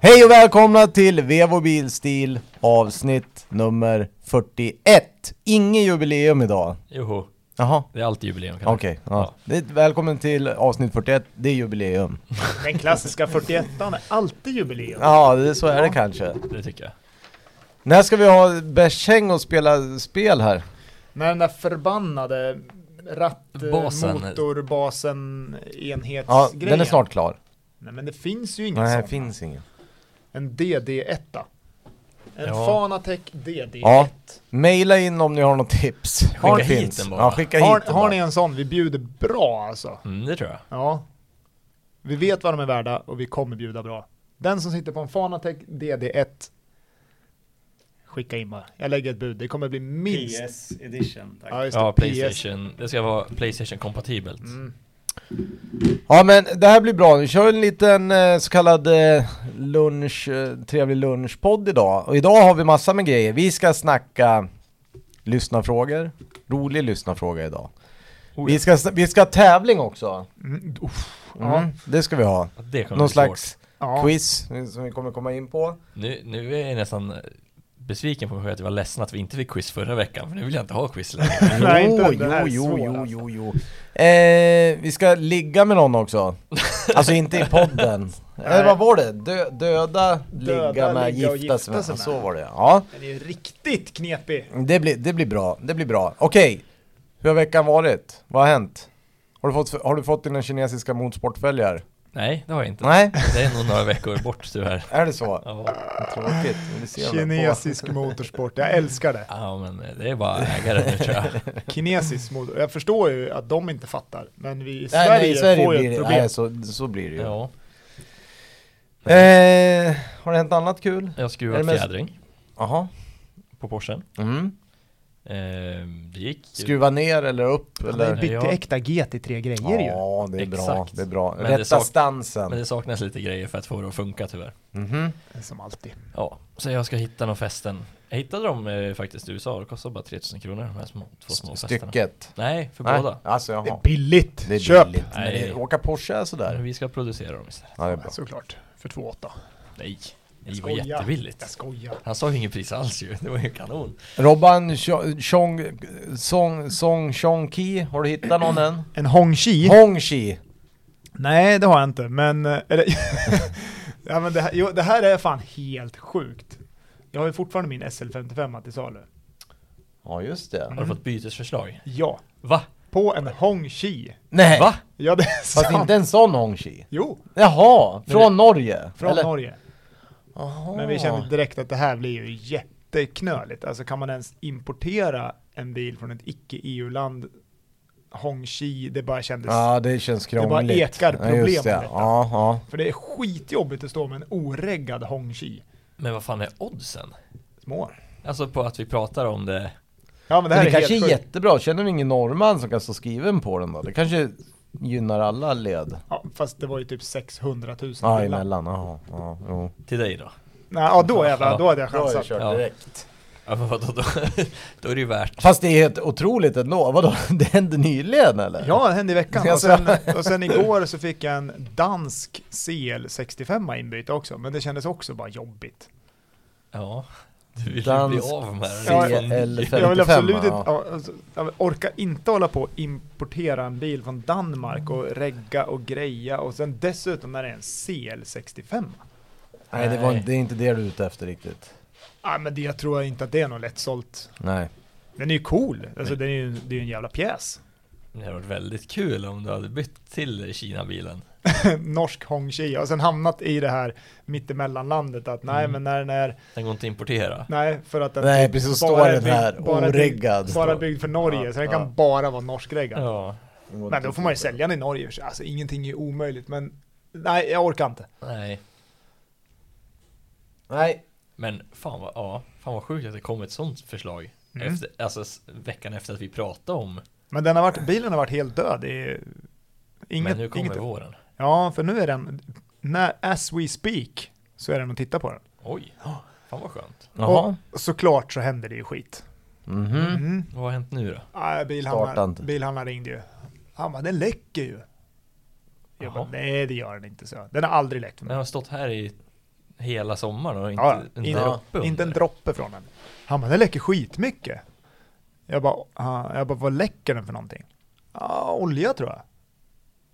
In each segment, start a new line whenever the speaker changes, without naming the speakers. Hej och välkomna till Vevo Bilstil avsnitt nummer 41. Inget jubileum idag.
Joho,
Jaha,
det är alltid jubileum. kan
okej. ja. Det- Välkommen till avsnitt 41, det är jubileum.
Den klassiska 41an är alltid jubileum.
Ja, det, så är det kanske.
jag- Det tycker jag.
När ska vi ha Bersäng och spela spel här?
När den där förbannade
Basen.
rattmotorbasen
Ja,
enhetsgrejen.
den är snart klar.
Nej men det finns ju ingen
Nej, det
sån.
finns ingen.
En DD1. En
Ja.
Fanatec DD1.
Ja, Maila in om ni har något tips.
Skicka
Det
hit
finns.
den bara.
Ja, skicka
har,
hit den
har
bara.
ni en sån? Vi bjuder bra alltså.
Mm, det tror jag.
Ja. Vi vet vad de är värda och vi kommer bjuda bra. Den som sitter på en Fanatec DD1 Skicka in bara. Jag lägger ett bud. Det kommer bli minst...
PS edition. Tack.
Ja, just det.
Ja,
PS.
Playstation. Det ska vara Playstation-kompatibelt.
Mm.
Ja men det här blir bra, vi kör en liten eh, så kallad eh, lunch, eh, trevlig lunchpodd idag. Och idag har vi massa med grejer. Vi ska snacka lyssnarfrågor, rolig lyssnarfråga idag.
Oj.
Vi ska, vi ska ha tävling också.
Mm. Uff.
Mm,
Ja.
Det ska vi ha.
Det kommer
Någon
bli
slags
svårt.
Ja.
quiz eh, som vi kommer komma in på.
Nu, nu är jag nästan eh, besviken på mig själv att jag var ledsen att vi inte fick quiz förra veckan, för nu vill jag inte ha quiz längre.
Nej, inte
jo,
den. Den här är
jo,
svår,
jo,
alltså.
jo, jo, jo. Eh, vi ska ligga med någon också. Alltså inte i podden. Eller
Nej.
vad var det? Dö, döda, ligga med,
ligga och
gifta sig med.
gifta sig med.
Så var det ja.
Den är riktigt knepig.
Det blir, det blir bra, det blir bra. Okej, hur har veckan varit? Vad har hänt? Har du fått, har du fått dina kinesiska motsportföljare?
Nej, det har jag inte.
Nej,
Det är nog några veckor bort tyvärr.
är det så?
Ja,
Tråkigt. men det ser jag väl på.
Kinesisk motorsport, jag älskar det.
ja men eh, det är bara ägare nu tror jag.
Kinesisk motor. Jag förstår ju att de inte fattar, men vi i
Nej,
Sverige,
nej, i Sverige
får ju
blir
ett
det,
problem.
nej, så, så blir det ju.
Ja,
Eh, har det hänt annat kul? Är
jag har
det
skruvat
mest-
fjädring
Jaha.
på Porschen.
Mm.
Ehm, det gick.
Skruva ner eller upp
Han har ju
eller?
bytt till
Ja.
äkta GT3 grejer ju.
Ja, det är bra,
Exakt.
det är bra.
Men det
Rätta
sak-
stansen.
Men det saknas lite grejer för att få det att funka tyvärr.
Mhm.
Som alltid.
Ja, så jag ska hitta någon fästen. Jag hittade dem eh, faktiskt i USA, det kostar bara 3000 kronor de här små, två små fästena.
Stycket.
Nej, för
Nej,
båda.
Alltså
Det är
jaha.
billigt.
Det är
Köp!
billigt. Men
Nej. Mm.
det, åka Porsche är
Men
sådär.
vi ska producera dem istället.
Ja, det är bra.
Ja, såklart. För 2,8.
Nej, det var
skojar. Jag
jättebilligt.
skojar.
Han sa ju inget pris alls ju, det var ju kanon.
Robban Cho- Chong Song Song Chong Ki, har du hittat någon än?
En Hongqi?
Mm. Hong Chi.
Nej, det har jag inte, men... eh, Eller, ja, men det, här, jo, det här är fan helt sjukt. Jag har ju fortfarande min SL55 till salu.
Ja just det.
Har du fått bytesförslag?
Ja,
Va?
på en Hongqi.
Nej!
Va?
Ja, det är
Fast
sant.
inte en sån Hong Chi.
Jo,
Jaha, från
Nej.
Norge?
från
Eller?
Norge.
Jaha.
Men vi kände direkt att det här blir ju jätteknöligt. Alltså kan man ens importera en bil från ett icke-EU-land? Hongqi, det bara kändes...
Ja det känns
bara
krångligt.
ekar problem
ja, just det.
med detta.
Ja, ja.
För det är skitjobbigt att stå med en oreggad Hongqi.
Men vad fan är oddsen?
Små.
Alltså på att vi pratar om det.
Ja men
Det,
det här
det
är
kanske
helt
är
sjukt.
jättebra, känner du ingen norrman som kan stå skriven på den då? Det kanske gynnar alla led?
Ja, fast det var ju typ 600 000
Ja,
bilar.
emellan, jaha. Ja, jo.
Till dig då?
Nej, ja då jävlar, då hade jag
Då har jag
chansat.
kört
Ja.
direkt.
Ja men vadå då? Då är det ju värt.
Fast det är helt otroligt ändå, vadå? Det hände nyligen eller?
Ja, det hände i veckan. Och
Alltså.
sen, och sen igår så fick jag en dansk CL65 inbyte också, men det kändes också bara jobbigt.
Ja. Du vill ju bli
Dansk
av med
Ja, ja.
CL55
Jag vill absolut inte,
ja.
ja, alltså, jag vill- orkar inte hålla på och importera en bil från Danmark och regga och greja och sen dessutom när det är en CL65.
Nej, det, var, inte- det är inte det du är ute efter riktigt.
Ja men det jag tror jag inte att det är något lättsålt.
Nej.
Den är ju cool, alltså den är ju, det är ju en jävla pjäs.
Det hade varit väldigt kul om du hade bytt till Kina-bilen.
Norsk Hongqi och sen hamnat i det här mittemellanlandet att nej
Mm.
men när den är,
Den går inte att importera.
nej för att den
Nej,
typ
precis, så
bara
står
är
den
byggd-
här,
bara byggd-
oreggad.
Bara byggd för Norge,
Ja,
så den
ja. typ.
kan bara vara norskreggad.
Ja.
Mm.
Men då får man ju sälja den i Norge. så- Alltså ingenting är omöjligt, men nej, jag orkar inte.
Nej.
Nej.
Men fan vad, ja, fan vad sjukt att det kom ett sånt förslag.
Mm.
Efter, alltså s- veckan efter att vi pratade om.
Men den har varit, bilen har varit helt död. Det är inget,
men nu kommer
inget,
våren.
Ja, för nu är den, när, as we speak, så är den och tittar på den.
Oj, fan vad skönt.
Jaha.
Och såklart så händer det ju skit.
Mhm.
Mm.
Vad har hänt nu då?
Ah,
Starta
bilhandlaren,
inte.
bilhandlaren ringde ju. Han bara, den läcker ju. Jag bara,
Jaha.
nej det gör den inte så. Den har aldrig läckt för
Den
mig.
har stått här i hela sommaren och inte,
Mm. Ja,
inte
inte-
en droppe under.
Inte en droppe från den. Han bara, den läcker skitmycket. Jag bara, "Ah." jag bara vad läcker den för någonting? Ja, olja tror jag.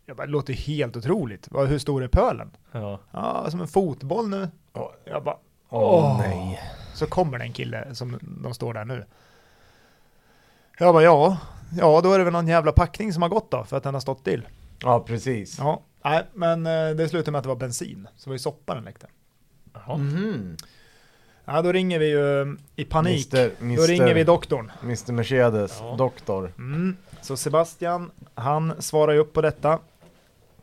Jag bara, det låter ju helt otroligt. Vad- Hur stor är pölen?
Ja.
Ja, som en fotboll nu.
Ja.
Jag bara,
Åh
Åh.
nej.
så kommer det en kille som de står där nu. Jag bara, ja, ja, då är det väl någon jävla packning som har gått då, för att den har stått still.
Ja, precis.
Ja, nej, men eh, det slutade med att det var bensin, så det var ju soppa den läckte.
Jaha.
Mhm.
Ja, då ringer vi ju eh, i panik.
Mister,
Då ringer vi
mister,
doktorn.
Mr Mercedes,
Ja.
doktor.
Mm. Så Sebastian, han svarar ju upp på detta.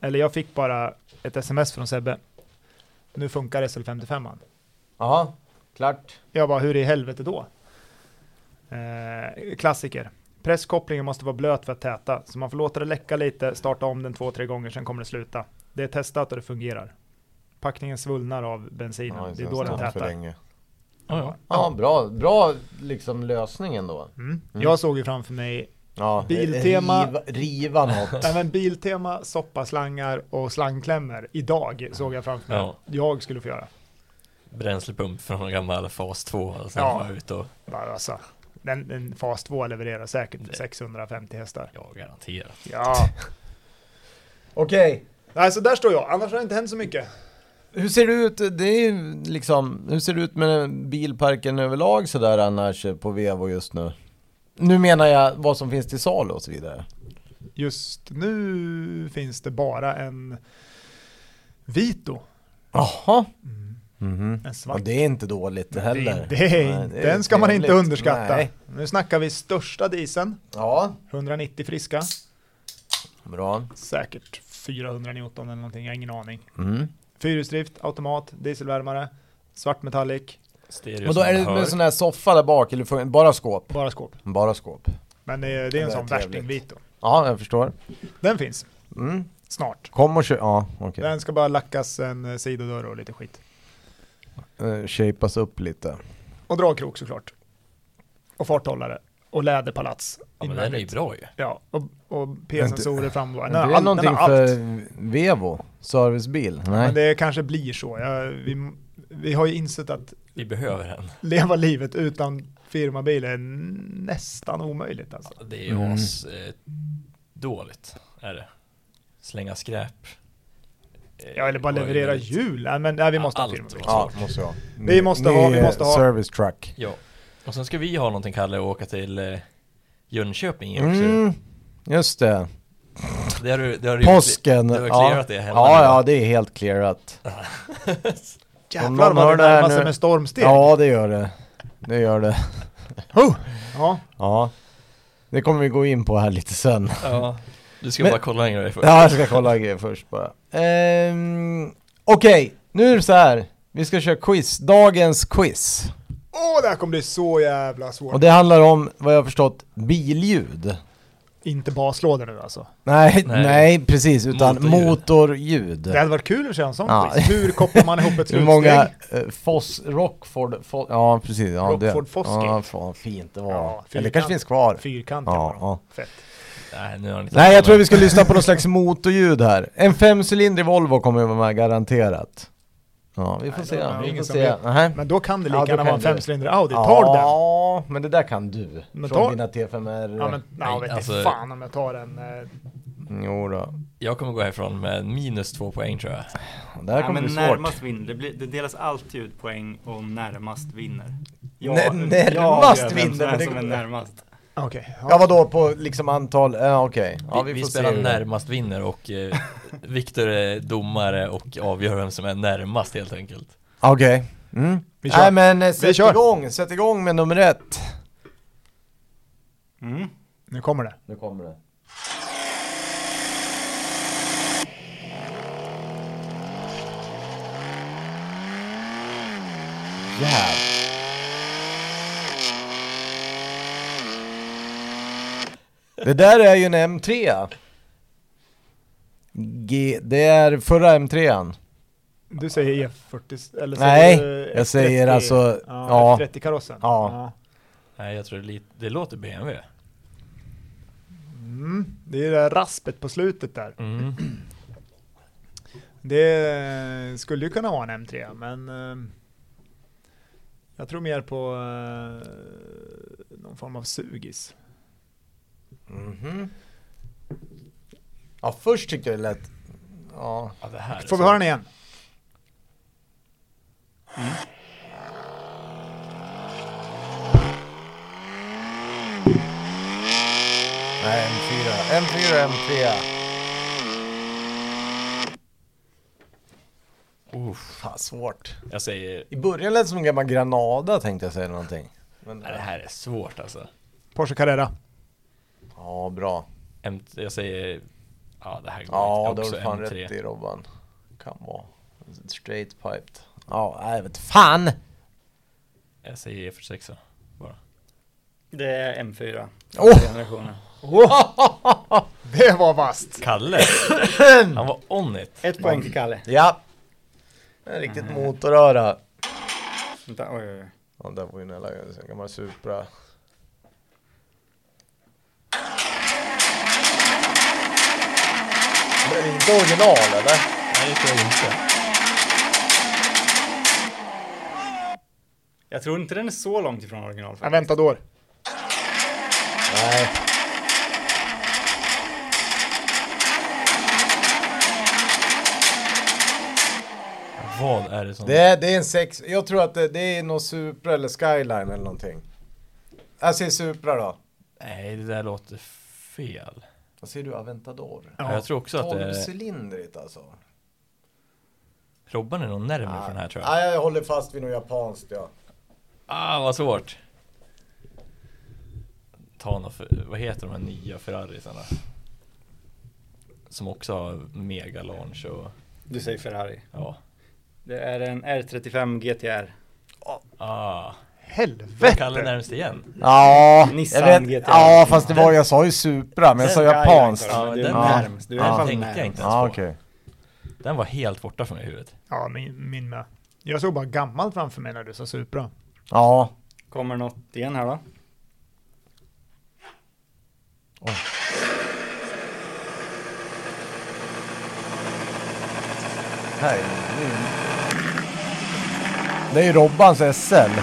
Eller jag fick bara ett sms från Sebbe. Nu funkar SL55an.
Ja, klart.
Jag bara, hur i helvete då? Eh, klassiker. Presskopplingen måste vara blöt för att täta, så man får låta det läcka lite, starta om den två, tre gånger, sen kommer det sluta. Det är testat och det fungerar. Packningen svullnar av bensinen, det är då den
För
tätar.
länge.
Ja, ja.
Ja, bra, bra liksom lösning ändå.
Mm.
Mm.
Jag såg ju framför mig
Ja,
Biltema.
Riva, riva något.
även Biltema, soppaslangar och slangklämmor. Idag såg jag framför mig
Ja.
att jag skulle få göra.
Bränslepump från en gammal fas 2. Och sen
Ja.
ja. ut och
Bara alltså, den, den fas 2 levererar säkert
Det-
650 hästar.
ja, garanterat.
Ja,
Okej.
alltså där står jag. Annars har det inte hänt så mycket.
Hur ser det ut, det är ju liksom, hur ser det ut med bilparken överlag sådär annars eh, på Vevo just nu? Nu menar jag vad som finns till salu och så vidare.
Just nu finns det bara en Vito.
Jaha.
Mm.
Mhm.
En
Ja,
svart.
det är inte dåligt det heller.
Det, det är,
Nej,
inte-
det är
den ska man inte
trevligt.
underskatta.
Nej.
Nu snackar vi största disen.
Ja,
190 friska.
bra.
Säkert 400 Newton eller någonting, jag har ingen aning.
Mm.
Fyrhjulsdrift, automat, dieselvärmare, svart metallic,
Stereo
Och då
som
är det
man
med
hör.
en sån här soffa där bak, eller får- bara skåp?
bara skåp.
Bara skåp.
Men det är, det är en
Det är
sån
trevligt.
värsting Vito.
Ja, jag förstår.
Den finns,
Mm.
snart.
Kom och kö... Ja, okej.
Den ska bara lackas en eh, sidodörr och lite skit.
Eh, Shapas upp lite.
Och dragkrok såklart. Och farthållare. Och läderpalats.
Ja, men den är ju bra ju.
Ja, och, och P-sensorer framgår. Den
det
har
är
all- den
någonting
har
för
allt.
Vevo, servicebil. Nej.
Men det kanske blir så. Jag, vi, vi har ju insett att
Vi behöver den.
leva livet utan firmabil är nästan omöjligt alltså.
Ja, Det är ju
Mm.
as eh, dåligt är det. Slänga skräp. Eh,
Ja, eller bara
var ju
leverera
väldigt-
hjul. Nej, men nej, vi
Ja,
måste ha
allt
firmabil.
var-
Ja, måste jag.
Vi måste ha- vi
eh,
måste ha-
Service truck.
Ja. Och sen ska vi ha någonting Kalle och åka till eh, Jönköping också.
Mm, just det.
Det har du, det har du
Påsken.
Du har
Ja,
clearat det hemma
ja,
nu.
ja, det är helt clearat. Om
Jävlar
någon hör
vad det
det här
närmar sig
nu-
med stormsteg.
Ja, det gör det. Det gör det.
Huh! ja.
Ja. Det kommer vi gå in på här lite sen.
Ja. Du ska
Men-
bara kolla en grej först.
Ja, jag ska kolla grejer först bara. Ehm, Okej, nu är det så här. Vi ska köra quiz. Dagens quiz.
Åh, det här kommer bli så jävla svårt.
Och det handlar om, vad jag har förstått, billjud.
Inte baslådor nu alltså.
Nej, nej,
Nej.
precis, utan
Motorljud.
motorljud.
Det hade varit kul att köra en sån
Ja.
quiz. Hur kopplar man ihop ett
Hur
slutsteg?
många, eh, Foss, Rockford, Fo, ja precis. Ja, det-
Rockford Fosgate.
Ja, fan, fint det var.
Ja,
Eller det
fyrkant.
kanske finns kvar.
Fyrkant kan
Ja,
man ha.
ja.
Fett.
Nej, nu har ni
Nej, jag tror vi ska lyssna på någon slags motorljud här. En femcylindrig Volvo kommer att vara med garanterat. Ja, vi får
Nej,
se.
det är
Vi
ingen
får
som
se.
vet.
Nähä.
Men då kan det
Ja,
lika
då
gärna
kan
vara en
det.
femcylindrig Audi. Tar du den?
Ja, men det där kan du.
Men
Från
ta-
dina T5R.
Ja, men nej,
Nej,
vet
alltså-
inte fan om jag tar en... Eh,
Jo då.
Jag kommer gå härifrån med minus två poäng tror jag.
Det här
Ja,
kommer
men
bli svårt.
närmast vinner. Det, blir, det delas alltid ut poäng och närmast vinner.
Nä-
jag
närmast
avgör
vinner,
Vem som
men
är,
det-
som är närmast.
Okej.
Ja vadå på liksom antal, ja okej. Ja, vi,
vi, vi,
får se
spelar
hur det-
närmast vinner och eh, Viktor är domare och avgör vem som är närmast helt enkelt.
Okej. Mm.
Vi
Nej
kör.
men eh, sätt
kör.
igång, sätt igång med nummer ett.
Mm.
Nu kommer det.
Nu kommer det. Jävlar. Det där är ju en M3. G, det är förra M3an.
Du säger E40... Eller
Nej,
du, eh,
jag säger
F30?
alltså-
Ja,
ja.
F30-karossen.
Ja.
Nej, jag tror det, är lite, det låter BMW.
Mm. Det är det där raspet på slutet där.
Mm.
Det skulle ju kunna vara en M3, men eh, jag tror mer på eh, någon form av sugis.
Mhm. Ja, först tyckte jag det lät... Ja.
Ja, det här är
Får vi
så-
höra den igen?
Nej, M4. M4, M3.
Uff,
Fan, svårt.
jag säger,
I början lät det som en gammal Granada tänkte jag säga någonting. Men,
nej, det här är svårt alltså.
Porsche Carrera.
Ja, bra.
M- jag säger, ja det här går
Ja,
inte.
det har
Också
du fan
M3.
rätt i Robban. Kan vara. Straight piped. Ja, nej, jag vet fan!
Jag säger E46 bara.
Det är M4.
Åh!
Generationen.
Det var vasst!
Kalle! Han var on it.
Ett poäng till Kalle.
Ja! En riktigt motoröra.
Vänta, oj, oj, oj.
Ja, där var ju Nella, en gammal Supra. Men det är inte original eller?
Nej, det tror jag inte.
Jag tror inte den är så långt ifrån original faktiskt.
Aventador.
Nej.
Vad är det som...
Det är, det är en sex, jag tror att det, det är någon Supra eller Skyline eller någonting. Jag säger Supra då.
Nej, det där låter fel.
Vad säger du, Aventador?
Ja. Jag tror också att eh, det är...
Tolvcylindrigt alltså.
Robban är nog närmare för den här tror jag.
Nej, jag håller fast vid något japanskt ja.
Ah, vad svårt. Ta någon, för, vad heter de här nya Ferrarisarna? Som också har mega launch och
Du säger Ferrari.
ja.
Det är en R35 GTR.
Ah, Kalle
Helvete!
närmst igen.
Ja,
Nissan
jag vet,
GTR.
ja fast det var, jag sa ju Supra men jag sa
Den kan
japanskt.
jag inte, men Du är
Ja.
närmst. Du är i alla fall
tänkte jag
närmst.
inte ens
Ja
på.
okej.
Den var helt borta från mig i huvudet.
Ja, min, min med. Jag såg bara gammalt framför mig när du sa Supra.
Ja.
Kommer något igen här då?
Här. Det är ju Robbans SL.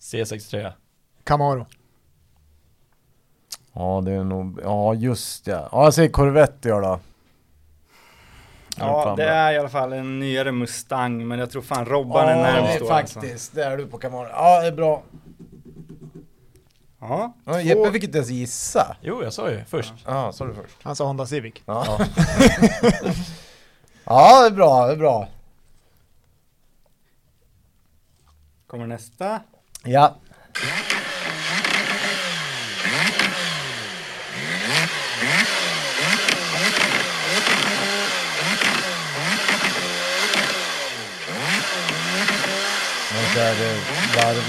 C63.
Camaro.
Ja det är nog, ja just ja. Ja jag säger Corvette jag då.
Ja,
fan
det
bra.
är i alla fall en nyare Mustang, men jag tror fan Robban är närmast då. alltså.
faktiskt. Det är du på Camaro. Ja det är bra.
Ja,
Ja, Jeppe fick inte ens gissa.
Jo, jag sa ju först.
Ja, sa du först?
Han sa Honda Civic.
Ja. ja, det är bra, det är bra.
kommer nästa.
Ja. Men så är det varv,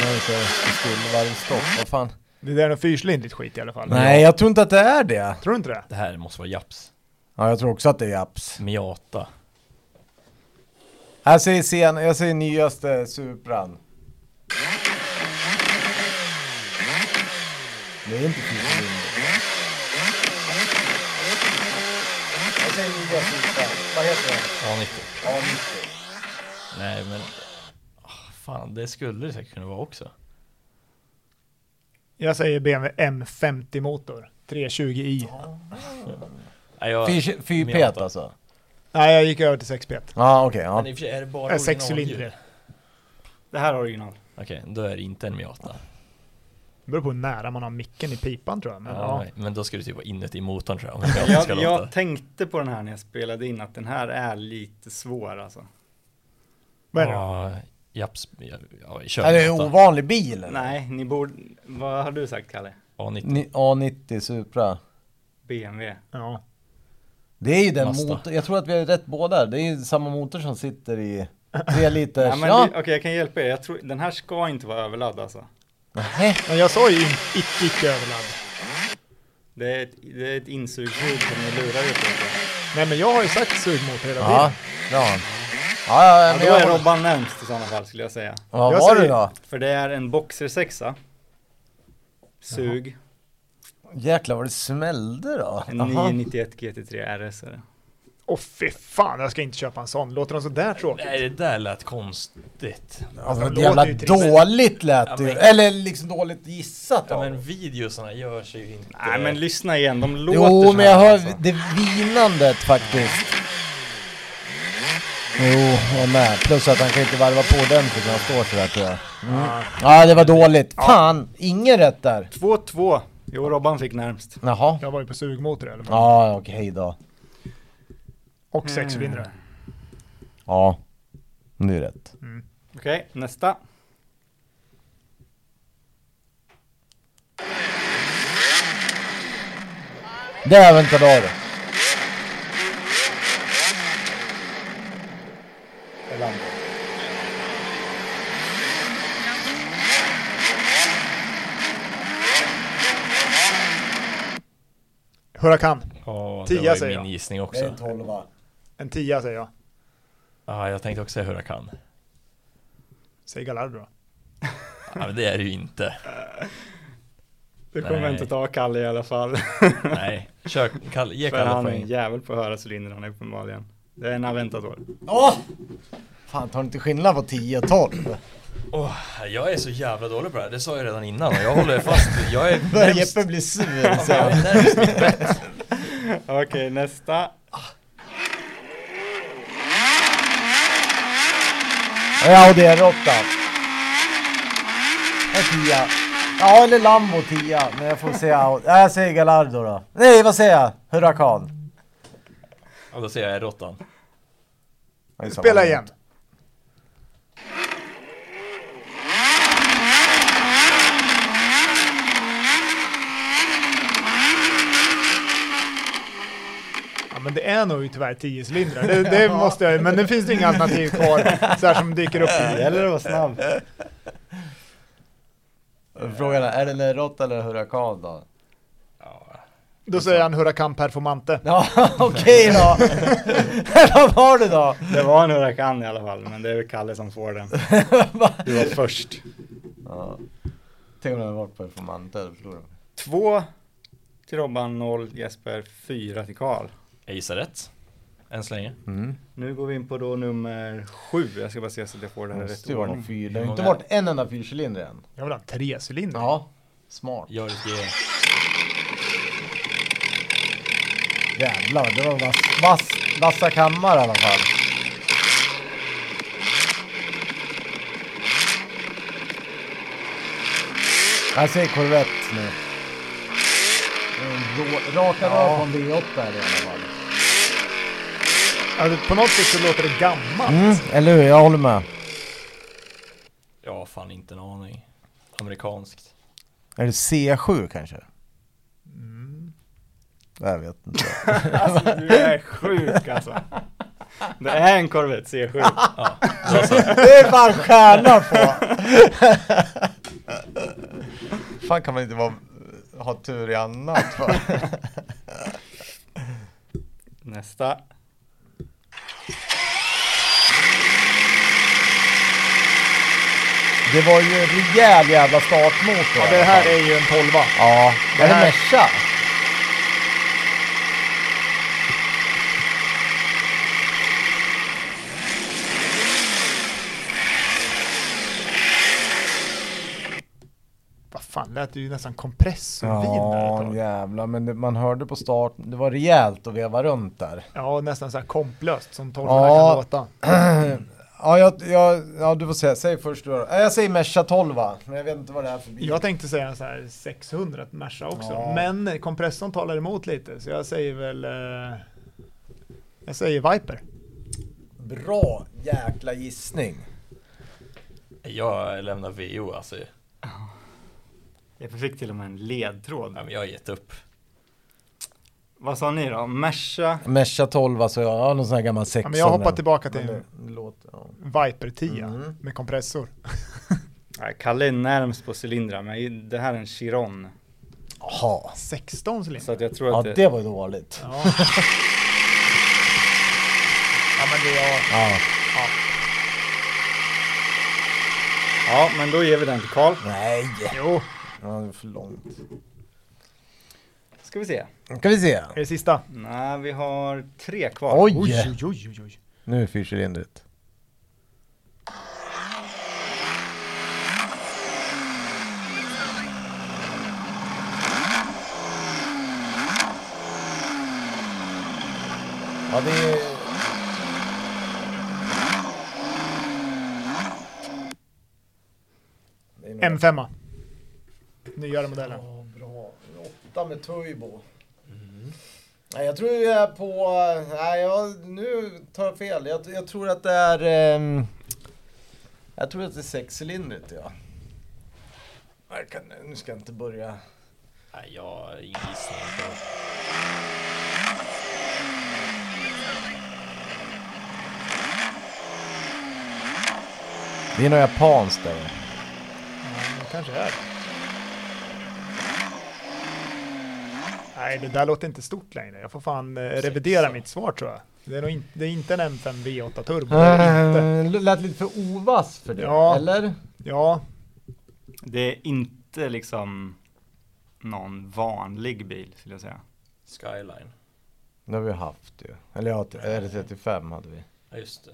nu är det skulle varvstopp, vad fan?
Det där är något fyrcylindrigt skit i alla fall.
Nej, jag tror inte att det är det.
Tror du inte det?
Det här måste vara Japs.
Ja, jag tror också att det är Japs.
Miata.
Jag säger sen, jag säger nyaste Supran. Det är inte fyrcylindrig. Jag säger nya Supran. Vad heter den?
A90.
Ja, 90.
Nej, men... Ah, Fan, det skulle det säkert kunna vara också.
Jag säger BMW M50 motor. 320i.
Nej, jag...
Fyr- Fyrpet
Miata.
alltså?
Nej, jag gick över till 6p.
Ja, okej.
Men
ja.
i och för sig är det bara
Äh,
originalljud.
Sexcylindrig.
Det här är original.
Okej, då är det inte en Miata.
Det beror på hur nära man har micken i pipan tror jag. Men,
Ja,
ja.
nej, Men då ska det typ vara inuti motorn tror jag. om Miata ska
Jag,
låta.
jag tänkte på den här när jag spelade in, att den här är lite svår alltså.
Vad är det då?
Ja, japs, ja, ja, kör
Är det en
Miata.
ovanlig bil eller?
Nej, ni borde... Vad har du sagt Kalle?
A90.
Ni- A90 Supra.
BMW.
Eh,
Ja.
Det är ju den
Mazda.
motorn, jag tror att vi har rätt båda. Det är ju samma motor som sitter i tre liters...
Ja, men
Ja,
vi- Okej, jag kan hjälpa er. Jag tror, den här ska inte vara överladd alltså.
Nej.
Men jag sa ju in- icke, icke överladd.
Det är ett, det är ett insugshud som ni lurar er på.
Nej, men jag har ju sagt sugmotor hela tiden.
Ja, bra. Ja, ja,
Ja,
men
då är
jag,
Robban närmst i sådana fall skulle jag säga.
vad
Jag
var det
säger-
då?
För det är en boxer sexa Sug.
Jäklar vad det smällde då.
En
Jaha.
991 GT3 RS är det.
Åh fy fan, jag ska inte köpa en sån. Låter de sådär tråkigt?
Nej, det där lät konstigt.
Ja,
det
men
låter
jävla
ju trist.
dåligt lät
Ja,
det ju.
men-
Eller liksom dåligt gissat
Ja,
av
men
dem.
videosarna gör sig ju inte...
Nej men lyssna igen, de låter
Jo
så
men
här
jag hör
alltså.
det vinandet faktiskt. Jo, jag med. Plus att han kan inte varva på ordentligt när han står sådär tror jag. Mm.
Ja.
Ja det var dåligt. Fan, ingen rätt där.
2-2. Jo, Robban fick närmst.
Jaha.
Jag var ju på sugmotor eller vad?
Ja, okej då.
Och sexcylindrar.
Ja. Det är rätt.
Mm.
Okej, nästa.
Det är väl inte då.
Elando.
Hurrakan.
Åh, det
Tia
var ju
säger
min
jag.
gissning
Det är en
också.
tolva.
En tia säger jag.
Ja, jag tänkte också säga Huracan.
Säg Gallardo då.
Ja, men det är det ju inte.
Du kommer
Nej.
inte ta Kalle i alla fall.
Nej, kör, kall, ge
För
Kalle
han är en
poäng.
jävel på att höra cylindrarna uppenbarligen. Det är en Aventador.
Åh! Fan, tar inte skillnad på 10 och 12?
Åh, jag är så jävla dålig på det här, det sa jag redan innan och jag håller fast Jag är
Börjar
närmst,
Jeppe bli sur
Ja,
så.
jag är närmst
Okej, nästa.
Ja, och det är råtta. En 10. Ja, eller Lambo 10. Men jag får säga... Nej, jag säger Gallardo då. Nej, vad säger jag? Hurrakan.
Ja, då säger jag råttan.
Ja, det är
Spela
samma.
igen. Ja, men det är nog tyvärr 10 cylindrar. Det, det måste jag ju- men det finns det inga alternativ kvar så här som dyker upp.
Det gäller att vara snabb.
Frågan är, är det råtta eller hurrakan då?
Då säger han Hurrakan Performante.
Ja, okej då. Vad var det då?
Det var en Huracan i alla fall, men det är väl Kalle som får den. Du var först.
Ja. Tänk om den hade varit på informanter, då förlorar de.
Två till Robban, noll Jesper, fyra till Karl.
Jag gissar rätt. Än så länge.
Mm.
Nu går vi in på då nummer sju. Jag ska bara se så att jag får det
Det
här
måste
rätt
ju vara
ordning.
en fyr. Det har ju inte
Hur många-
varit en enda fyrcylindrig än.
Jag vill ha en trecylindrig.
Ja, smart.
Joris G.
Jävlar, det var vass, vass, vassa kammar i alla fall. Jag säger Corvette nu. Mm, rå- Raka rör på en V8 här i alla fall.
Ja, det- på något sätt så låter det gammalt.
Mm, eller hur? Jag håller med.
Jag har fan inte en aning. Amerikanskt.
Är det C7 kanske? Mm. Jag vet inte.
Alltså, du är sjuk alltså. Det är en Corvette C7.
alltså,
Det är fan stjärna på! fan kan man inte vara, ha tur i annat för?
Nästa.
Det var ju en rejäl jävla startmotor.
Ja,
i
det
alla
här
fall.
är ju en tolva.
Ja, det
det
är
här-
Merca.
Vad fan, lät det ju nästan kompressorvin där ett tag.
jävlar, men det, man hörde på start, det var rejält att veva runt där.
Ja, nästan så här komplöst som tolvorna
Ja.
kan låta.
Ja, jag, jag, ja du får säga, säg först du då. Ja, Jag säger Merca 12 va? men jag vet inte vad det är för bil.
Jag tänkte säga så här 600 Merca också,
Ja.
men kompressorn talar emot lite, så jag säger väl... Eh, jag säger Viper.
Bra jäkla gissning.
Jag lämnar VO alltså. Ja,
Jag fick till och med en ledtråd.
men jag har gett upp.
Vad sa ni då? Merca?
Merca 12 alltså, jag har någon sån här gammal 6
Ja, men jag hoppar tillbaka till en
låter, ja.
Viper 10
Mm.
med kompressor.
Nej, Kalle är närmst på cylindrar, men det här är en Chiron.
Jaha.
16
Så
cylindrar.
att jag tror
Ja
att
det var ju dåligt.
Ja. ja, men det är...
Ja.
Ja, men då ger vi den till Karl.
Nej.
Jo,
Ja, det är för långt.
Ska vi se.
Ska vi se.
Är det sista?
Nej, vi har tre kvar.
Oj!
oj, oj, oj, oj.
Nu är fyrcylindrigt. Ja, det är... Det är några-
M5. Nyare modellen.
Ja, bra. Åtta med turbo.
Mm.
Nej, jag tror jag är på... Nej, jag, nu tar jag fel. Jag, jag tror att det är... ehm, jag tror att det är sexcylindrigt, ja. Jag kan, nu ska jag inte börja...
Nej, jag har ingen gissning.
Det är nog japanskt där.
Ja, det kanske är. Nej, det där låter inte stort längre. Jag får fan eh, revidera mitt svar tror jag. Det är, nog in, det är inte en M5 V8 Turbo. det är det inte.
Det Eh, lät lite för ovass för det,
Ja.
eller?
Ja,
Det är inte liksom någon vanlig bil skulle jag säga.
Skyline.
Det har vi haft ju. Eller ja, R35 hade vi.
Ja, just det.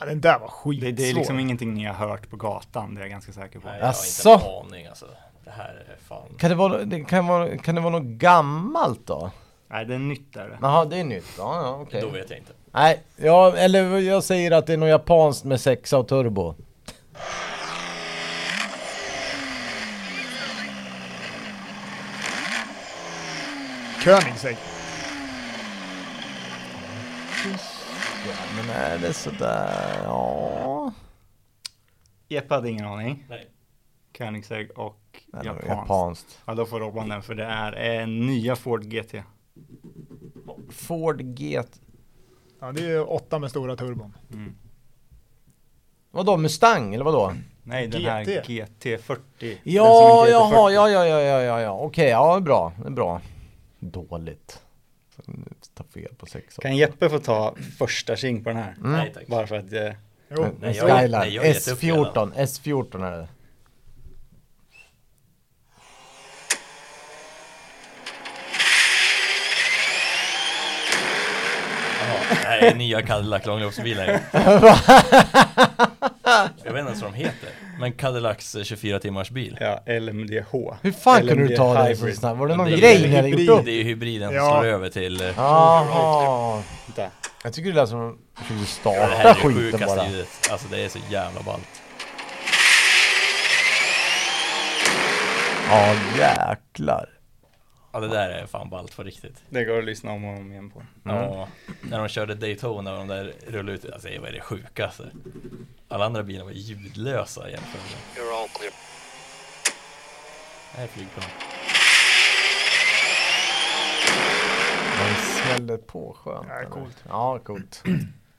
ja, den där var
Det,
skitsvår.
det är liksom ingenting ni har hört på gatan, det är jag ganska säker på.
Nej,
Asså?
jag har inte en aning alltså. Det här är fan...
Kan det vara, det kan vara, kan det vara något gammalt då?
Nej, det är nytt där.
Jaha, det är nytt. Ja, ja, okej.
Då vet jag inte.
Nej, ja, eller jag säger att det är något japanskt med sexa och turbo.
Koenigsegg.
Ja, men är det sådär? Ja...
Jeppe hade ingen aning.
Nej.
Koenigsegg och
Nej,
japanskt.
det var japanskt.
Ja, då får Robban den för det är eh, nya Ford GT.
Ford GT.
Ja, det är ju åtta med stora turbon.
Vadå, Mustang eller vadå?
Nej, den här
GT.
GT40. Den som
Ja,
inte heter
jaha,
40.
ja, ja, ja, ja, ja, ja, okej, ja, det är bra, det är bra. Dåligt. Nu tar fel på sexa.
Kan Jeppe få ta första tjing på den här?
Nej tack.
Bara för att eh,
Jo,
Men,
Nej, jag-
Skyline,
nej, jag har gett upp
S14, S14 är det.
Jaha, det här är nya Cadillac långloppsbilar ju. Jag vet inte ens vad de heter. Men Cadillacs eh, 24 timmars bil.
ja, LMDH.
Hur fan
LMD
kunde du ta det så
Hybrid.
snabbt? Var det någon
Det är
grej
ju
ni hade gjort
hybrid.
upp?
Det är ju hybriden som
Ja.
slår över till... eh,
Jaha.
Vänta.
Jag tycker det lät som att de försökte
Det
starta
här är det
skiten
sjukaste
bara.
ljudet. Alltså det är så jävla ballt.
Ja jäklar.
Ja det där är fan ballt för riktigt.
Det går att lyssna om och om igen på.
Ja, när de körde Daytona och de där rullade ut, alltså det var det sjukaste. Alla andra bilar var ljudlösa jämfört med.
You're all clear.
Det här är flygplan.
Man smäller på skönt.
Ja,
eller?
coolt.
Ja, coolt.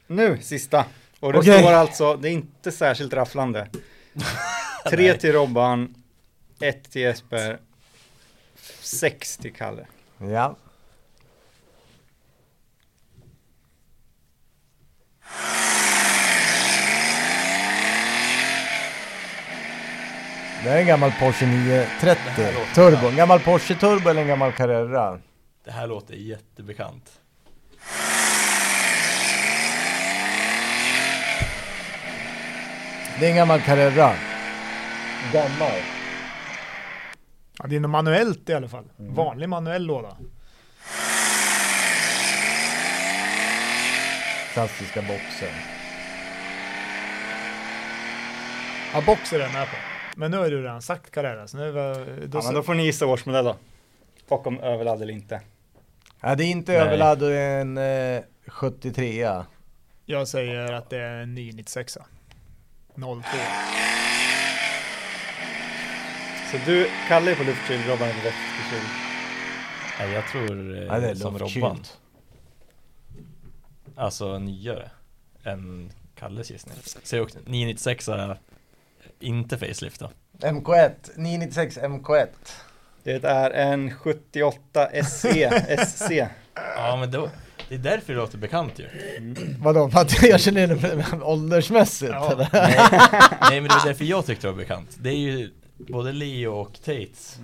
Nu, sista. Och det
Okej.
står alltså, det är inte särskilt rafflande. Tre till Robban, ett till Jesper, sex till Kalle.
Ja. Det är en gammal Porsche 930
här låter
Turbo. En gammal Porsche Turbo eller en gammal Carrera?
Det här låter jättebekant.
Det är en gammal Carrera. Gammal?
ja, det är något manuellt i alla fall.
Mm.
Vanlig manuell låda.
Klassiska boxen.
Ja, box är den här på. Men nu har du redan sagt Carrera, så nu var, då,
Ja, men då får ni gissa årsmodell då. Och om överladd eller inte.
Ja, det är inte
Nej.
överladd och det är en eh, 73
Jag säger att det är en 996. 02.
Så du, Kalle är på luftkyl, Robban är på vättekyl.
Nej, jag tror eh,
Ja, det är
som
luftkylt.
Robban. Alltså nyare än Kalles gissning. Säg också 996 är inte facelift då.
MK1, 996 MK1.
Det är en 78 SE, SC.
Ja men då, Det är därför det låter bekant ju.
Vadå, för att jag känner igen det åldersmässigt?
Ja.
eller?
Nej men det var därför jag tyckte det var bekant. Det är ju både Leo och Tates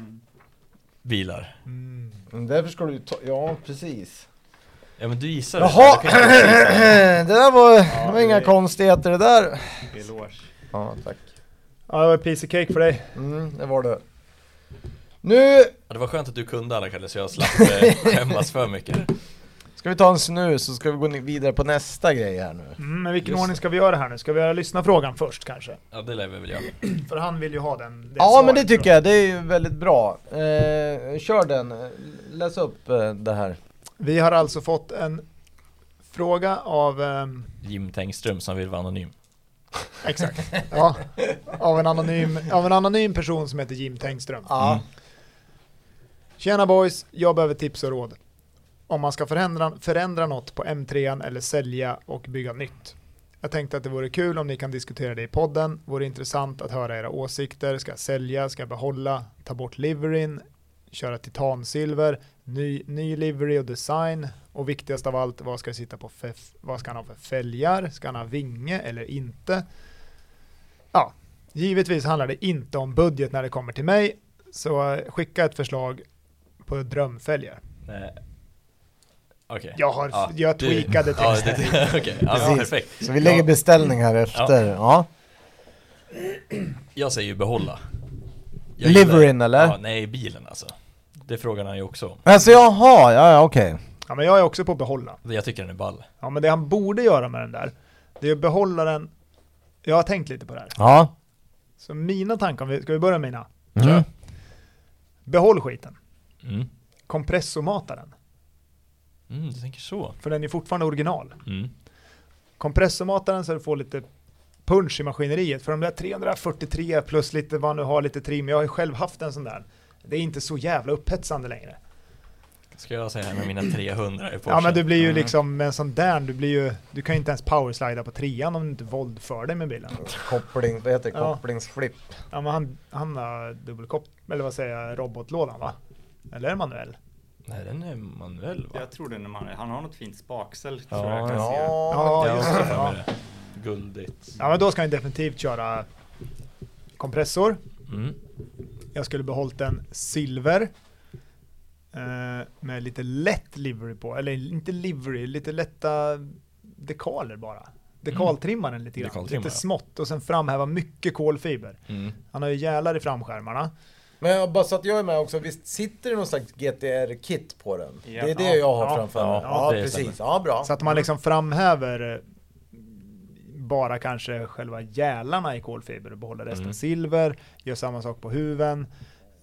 bilar.
Mm.
Men Därför ska du ju ta, ja precis.
Ja men du gissar det.
Jaha,
Du kan ju-
det där var, det var
det-
inga konstigheter det där.
Eloge.
Ja, tack.
Ja, det var ett piece of cake för dig.
Mm, det var det. Nu
Ja, det var skönt att du kunde alla Kalle så jag slapp eh, skämmas för mycket.
ska vi ta en snus och ska vi gå ni- vidare på nästa grej här nu.
Mm, men vilken
Just
ordning ska vi göra här nu? Ska vi göra lyssna frågan först kanske?
Ja det lär vi väl göra.
För han vill ju ha den. det
Mm. Ja
svaret,
men det
tror
tycker jag, det är ju väldigt bra. Eh, kör den, läs upp eh, det här.
Vi har alltså fått en fråga av, ehm,
Jim Tengström som vill vara anonym.
exakt, ja, av, en anonym, av en anonym person som heter Jim Tengström.
Ja.
Tjena boys, jag behöver tips och råd. Om man ska förändra, förändra något på M3 eller sälja och bygga nytt. Jag tänkte att det vore kul om ni kan diskutera det i podden. Vore intressant att höra era åsikter. Ska jag sälja? Ska jag behålla? Ta bort liveryn? Köra titansilver? Ny, ny livery och design? Och viktigast av allt, vad ska, sitta på för, vad ska han ha för fälgar? Ska han ha vinge eller inte? Ja, givetvis handlar det inte om budget när det kommer till mig. Så eh, skicka ett förslag på drömfälgar.
Eh, Okej.
Jag, har,
Ja,
jag
du-
tweakade
Ja,
texten.
det- Okej, ja,
Precis.
perfekt.
Så vi lägger
jag,
beställning här efter. Ja.
jag säger ju behålla.
Liveryn,
gillar-
eller?
Ja, nej, bilen alltså. Det frågar han ju också om.
Alltså jaha, ja ja okej.
Ja, men jag är också på att behålla.
Jag tycker den är ball.
Ja, men det han borde göra med den där, det är att behålla den. Jag har tänkt lite på det här.
Ja.
Så mina tankar, om vi- ska vi börja med mina?
Mm.
Behåll skiten.
Mm.
Kompressomata den.
Mm, du tänker så.
För den är fortfarande original.
Mm.
Kompressomata den så du får lite punch i maskineriet. För de där 343 plus lite vad nu har, lite trim. Jag har ju själv haft en sån där. Det är inte så jävla upphetsande längre.
Ska jag säga här med mina 300 i Porsche?
Ja men du blir
Mm.
ju liksom med en sån där, du blir ju, du kan ju inte ens powerslida på trean om du inte våldför dig med bilen.
Koppling, vad heter det?
Ja.
Kopplingsflipp.
Ja men han, han har dubbelkopp, eller vad säger jag, robotlådan va? Eller är det manuell?
Nej, den är manuell va?
Jag tror den är man. Han har något fint spaksäll
Ja,
tror jag kan se.
Ja.
Jag har
just
också
det,
för
ja.
mig det. Guldigt.
Ja men då ska han definitivt köra kompressor.
Mm.
Jag skulle behållit en silver. Eh, med lite lätt livery på, eller inte livery, lite lätta dekaler bara. Dekaltrimma den lite grann,
Dekaltrimma,
lite
ja.
smått och sen framhäva mycket kolfiber.
Mm.
Han har ju gälar i framskärmarna.
Men jag- bara så att jag är med också, visst sitter det någon slags GTR-kit på den?
Ja.
Det är det jag har
Ja.
framför
Ja,
mig. Ja,
det
precis.
stämmer.
Ja, bra.
Så att man liksom framhäver eh, bara kanske själva gälarna i kolfiber och behåller resten
Mm.
silver, gör samma sak på huven,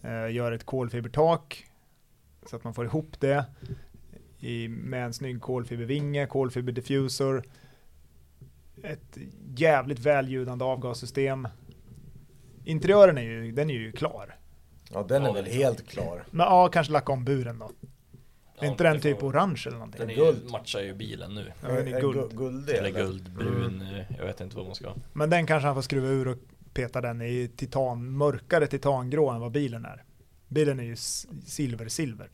eh, gör ett kolfibertak så att man får ihop det i, med en snygg kolfibervinge, kolfiberdiffusor, ett jävligt välljudande avgassystem. Interiören är ju, den är ju klar.
Ja, den är
Ja,
väl
det-
helt klar.
Men ja, kanske lacka om buren då. Är
Ja,
inte
det
den typ
får-
orange eller någonting?
Den är ju,
Guld.
matchar ju bilen nu.
Ja, den är Mm.
Gu-
guld.
Guldig.
Eller guldbrun, eh, jag vet inte vad man ska.
Men den kanske han får skruva ur och peta den i titan, mörkare titangrå än vad bilen är. Bilen är ju s- silver, silver.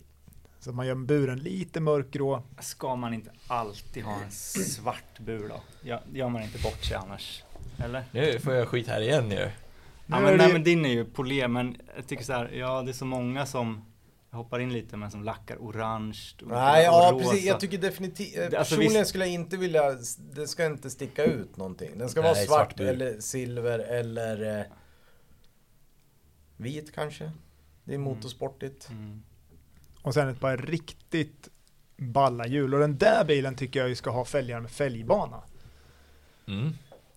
Så man gör buren lite mörkgrå.
Ska man inte alltid ha en svart bur då? Ja, gör man inte bort sig annars? Eller?
Nu får jag skit här igen ju.
Ja,
Nu
men,
är
nej,
det-
men din är ju polé, men jag tycker så här, ja det är så många som jag hoppar in lite, men som lackar orange och
Nej,
och
ja
rosa.
precis. Jag tycker definitivt... eh,
Det- alltså,
Personligen
visst-
skulle jag inte vilja... Det ska inte sticka ut någonting. Den ska
Nej,
vara svart,
svart bur.
eller silver eller... Eh, vit kanske? Det är motorsportigt.
Mm.
Och sen ett par riktigt balla hjul. Och den där bilen tycker jag ju ska ha fälgar med fälgbana.
Mm.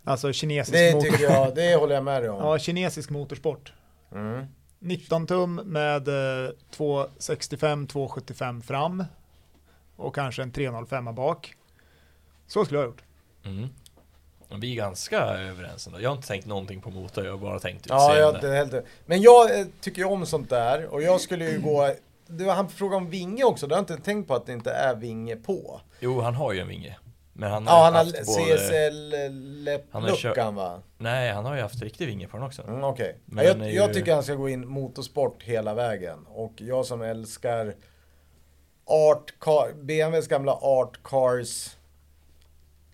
Alltså kinesisk,
Det
motor-
tycker jag, det håller jag med dig om.
ja, kinesisk motorsport.
Mm.
19 tum med eh, 265-275 fram. Och kanske en 305 bak. Så skulle jag ha gjort.
Mm. Men Vi är ganska överens ändå. Jag har inte tänkt någonting på motor, jag har bara tänkt
Ja,
utseende.
jag, det är helt, men jag eh, tycker ju om sånt där och jag skulle ju gå... Det var, han frågade om vinge också, det har jag inte tänkt på att det inte är vinge på.
Jo, han har ju en vinge. Men han har
Ja,
ju
han har
haft både... Han har kört-
CSL-luckan eh, va?
Nej, han har ju haft riktig vinge på den också.
Mm, Okej.
Men
Ja,
den
Jag,
är
jag
ju-
tycker han ska gå in motorsport hela vägen. Och jag som älskar Art Car, BMWs gamla Art Cars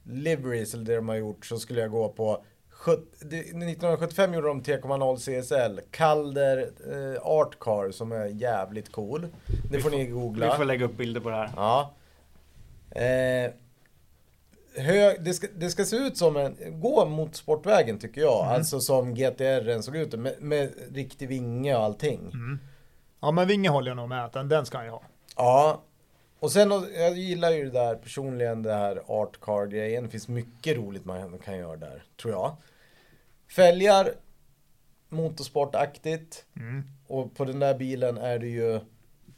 liveries eller det de har gjort så skulle jag gå på sjut- det- 1975 gjorde de 3.0 CSL, Calder eh, Art Car som är jävligt cool. Det
Vi
får ni
Vi
googla.
får lägga upp bilder på det här.
Ja. Eh, hö, det, ska, det ska se ut som en, gå mot sportvägen tycker jag. Alltså som GTR såg ut med, med riktig vinge och allting.
Ja men Vinge håller jag nog med att den, den ska han ju ha.
Ja. Och sen, jag gillar ju det där personligen, det här art car grejen. Det finns mycket roligt man kan göra där, tror jag. Fälgar, motorsportaktigt.
Mm.
Och på den där bilen är det ju,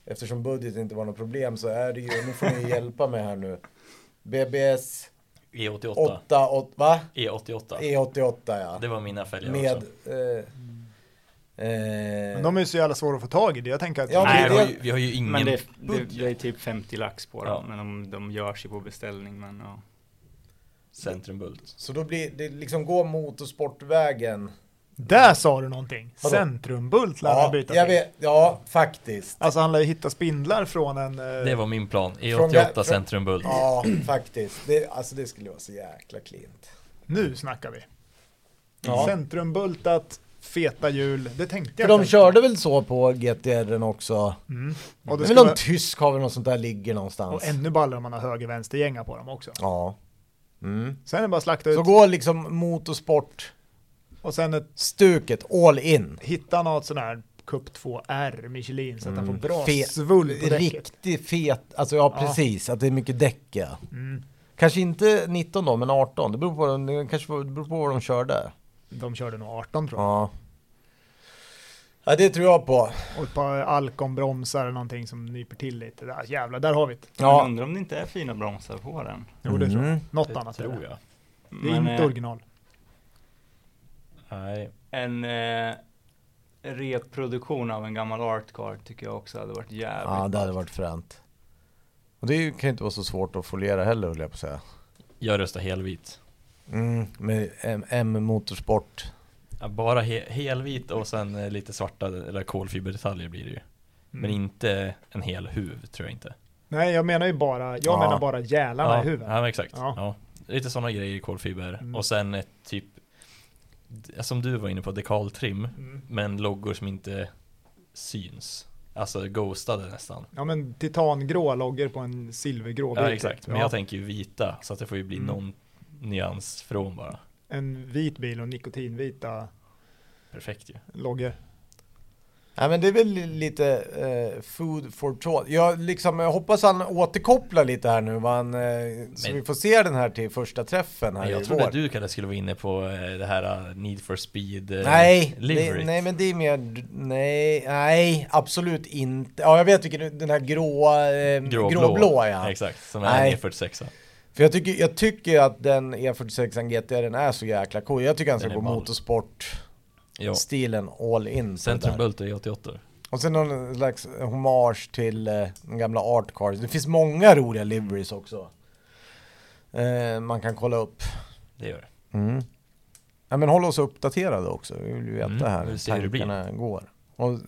eftersom budget inte var något problem så är det ju, nu får ni hjälpa mig här nu. BBS
E E88.
8, 8 va?
E88.
E88 ja.
E Det var mina fälgar
E- Med...
också.
Eh, eh,
Mm. Men de är ju så jävla svåra att få tag i. det. Jag tänker att...
Ja, men
Nej,
det-
vi har ju, vi har ju ingen...
Men det, det, det är typ 50 lax på dem,
Ja.
men de, de görs ju på beställning. Men, ja.
Centrumbult.
så då blir det liksom gå motorsportvägen.
Där sa du någonting!
Vadå?
Centrumbult lär han
Ja,
byta
jag
till.
vet, ja, faktiskt.
Alltså han lär ju hitta spindlar från en... eh,
Det var min plan.
Från-
E88
från-
Centrumbult.
Ja, faktiskt. Det, alltså det skulle vara så jäkla klint.
Nu snackar vi!
Ja.
Centrumbultat, feta hjul, det tänkte
För
jag
de
kanske.
körde väl så på GTR också?
Mm. Och,
Och det
det
men
ska
någon
vara,
tysk har väl något sånt där ligger någonstans?
och ännu ballare om man har höger-vänster-gängar på dem också.
Ja. Mm.
Sen är det bara att slakta ut
Så gå liksom motorsportstuket
och sen ett,
all in.
hitta något sån här Cup 2R Michelin så att den
Mm.
får bra
Fet-
svull på däcket.
Riktigt fet, alltså ja
Ja.
precis, att det är mycket däck ja.
Mm.
Kanske inte 19 då, men 18. Det beror på, det kanske beror- det beror på vad de körde.
De körde nog 18 tror jag.
Ja. Ja, det tror jag på.
Och ett par Alcon-bromsar eller någonting som nyper till lite. Där, jävlar, där har vi det.
Ja.
Men undrar om det inte är fina bromsar på den.
Jo, det tror jag.
Mm.
Något
Det
annat är
tror
det.
jag.
Det är
Men,
inte
eh,
original.
Nej.
En eh, reproduktion av en gammal artcard tycker jag också hade varit jävligt
Ja, det hade
ballt.
varit fränt. Och det kan ju inte vara så svårt att foliera heller, höll jag på att säga.
Jag röstar helvit.
Mm, med M- M-motorsport.
Ja, Bara he helvit och sen eh, lite svarta eller kolfiberdetaljer blir det ju. Men
Mm.
inte en hel huv tror jag inte.
Nej, jag menar ju bara, jag
Ja.
menar bara gälarna
ja,
i huvudet.
Ja, men exakt.
Ja.
Ja. Lite sådana grejer i kolfiber.
Mm.
Och sen ett typ, d- som du var inne på, dekaltrim.
Mm.
Men loggor som inte syns. Alltså ghostade nästan.
Ja, men titangrå loggor på en silvergrå
Ja
bil,
exakt,
typ.
men
Ja.
jag tänker ju vita så att det får ju bli
Mm.
någon nyans från bara.
En vit bil och nikotinvita
Perfekt ju.
loggor.
Ja, men det är väl lite eh, food for thought. Jag, liksom, jag hoppas han återkopplar lite här nu, vad han, eh, så
Men-
vi får se den här till första träffen här
Men jag
i
trodde
vår.
att du Kalle skulle vara inne på eh, det här eh, Need for speed eh,
Nej,
livery.
det, nej men det är mer, nej, nej, absolut inte. Ja, jag vet vilken, den här gråa, eh, gråblå, ja.
Exakt, som
Nej.
är en E46.
För jag tycker, jag tycker att den E46 GT, den är så jäkla cool. Jag tycker han ska
Den
gå
är ball.
motorsportstilen
Ja. E
all in. på det där.
Centrumbult är E88.
Och sen någon slags hommage till eh, den gamla Art Cars. Det finns många roliga liveries också. Eh, man kan kolla upp.
Det gör det.
Mm. Ja, men håll oss uppdaterade också. Vi vill ju veta
Mm,
här
vi
hur
vill se hur det blir.
tankarna går. Och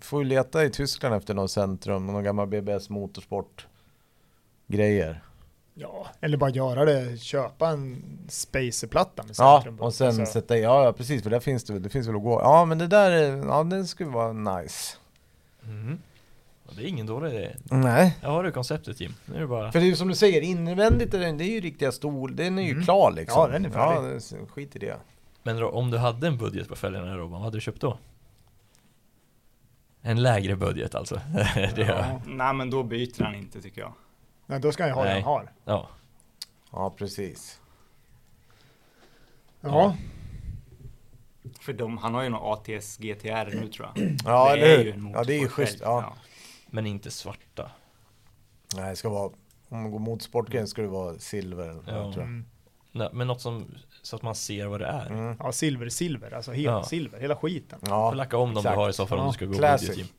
får ju leta i Tyskland efter något centrum, någon gammal BBS motorsport grejer.
Ja, eller bara göra det, köpa en spacerplatta med
Ja,
centrum på.
och sen
Alltså,
sätta i, ja, ja precis för där finns det, det finns väl att gå. Ja men det där, är- ja det skulle vara nice.
Och det är ingen dålig idé.
Nej.
Jag har du konceptet Jim. Nu är det bara...
För det är ju som du säger, invändigt är den, det är ju riktiga stol, den är ju
Mm.
klar liksom.
Ja, den är färdig.
Ja, det- så skit i det.
Men Ro- om du hade en budget på fälgarna Robban, vad hade du köpt då? En lägre budget alltså. det
ja.
ja.
Nej men då byter han inte tycker jag.
Nej, då ska jag ju ha den
Nej.
jag har.
ja.
Ja, precis.
Ja,
För de, han har ju någon ATS GTR nu tror jag.
Ja,
det
eller
är ju
hur?
en
Ja, det är ju
motorsport
schysst.
själv.
Ja.
Men inte svarta.
Nej, det ska vara, om man går mot sportgren ska det vara silver eller
Ja.
något, tror
mm.
Nej, men något som, så att man ser vad det är.
jag. Mm.
ja silver, silver, alltså helt
Ja.
silver, hela skiten.
Får
Ja,
lacka om dem du
exakt.
har i så fall om
Ja,
du ska gå typ-
classic.
budget Jim.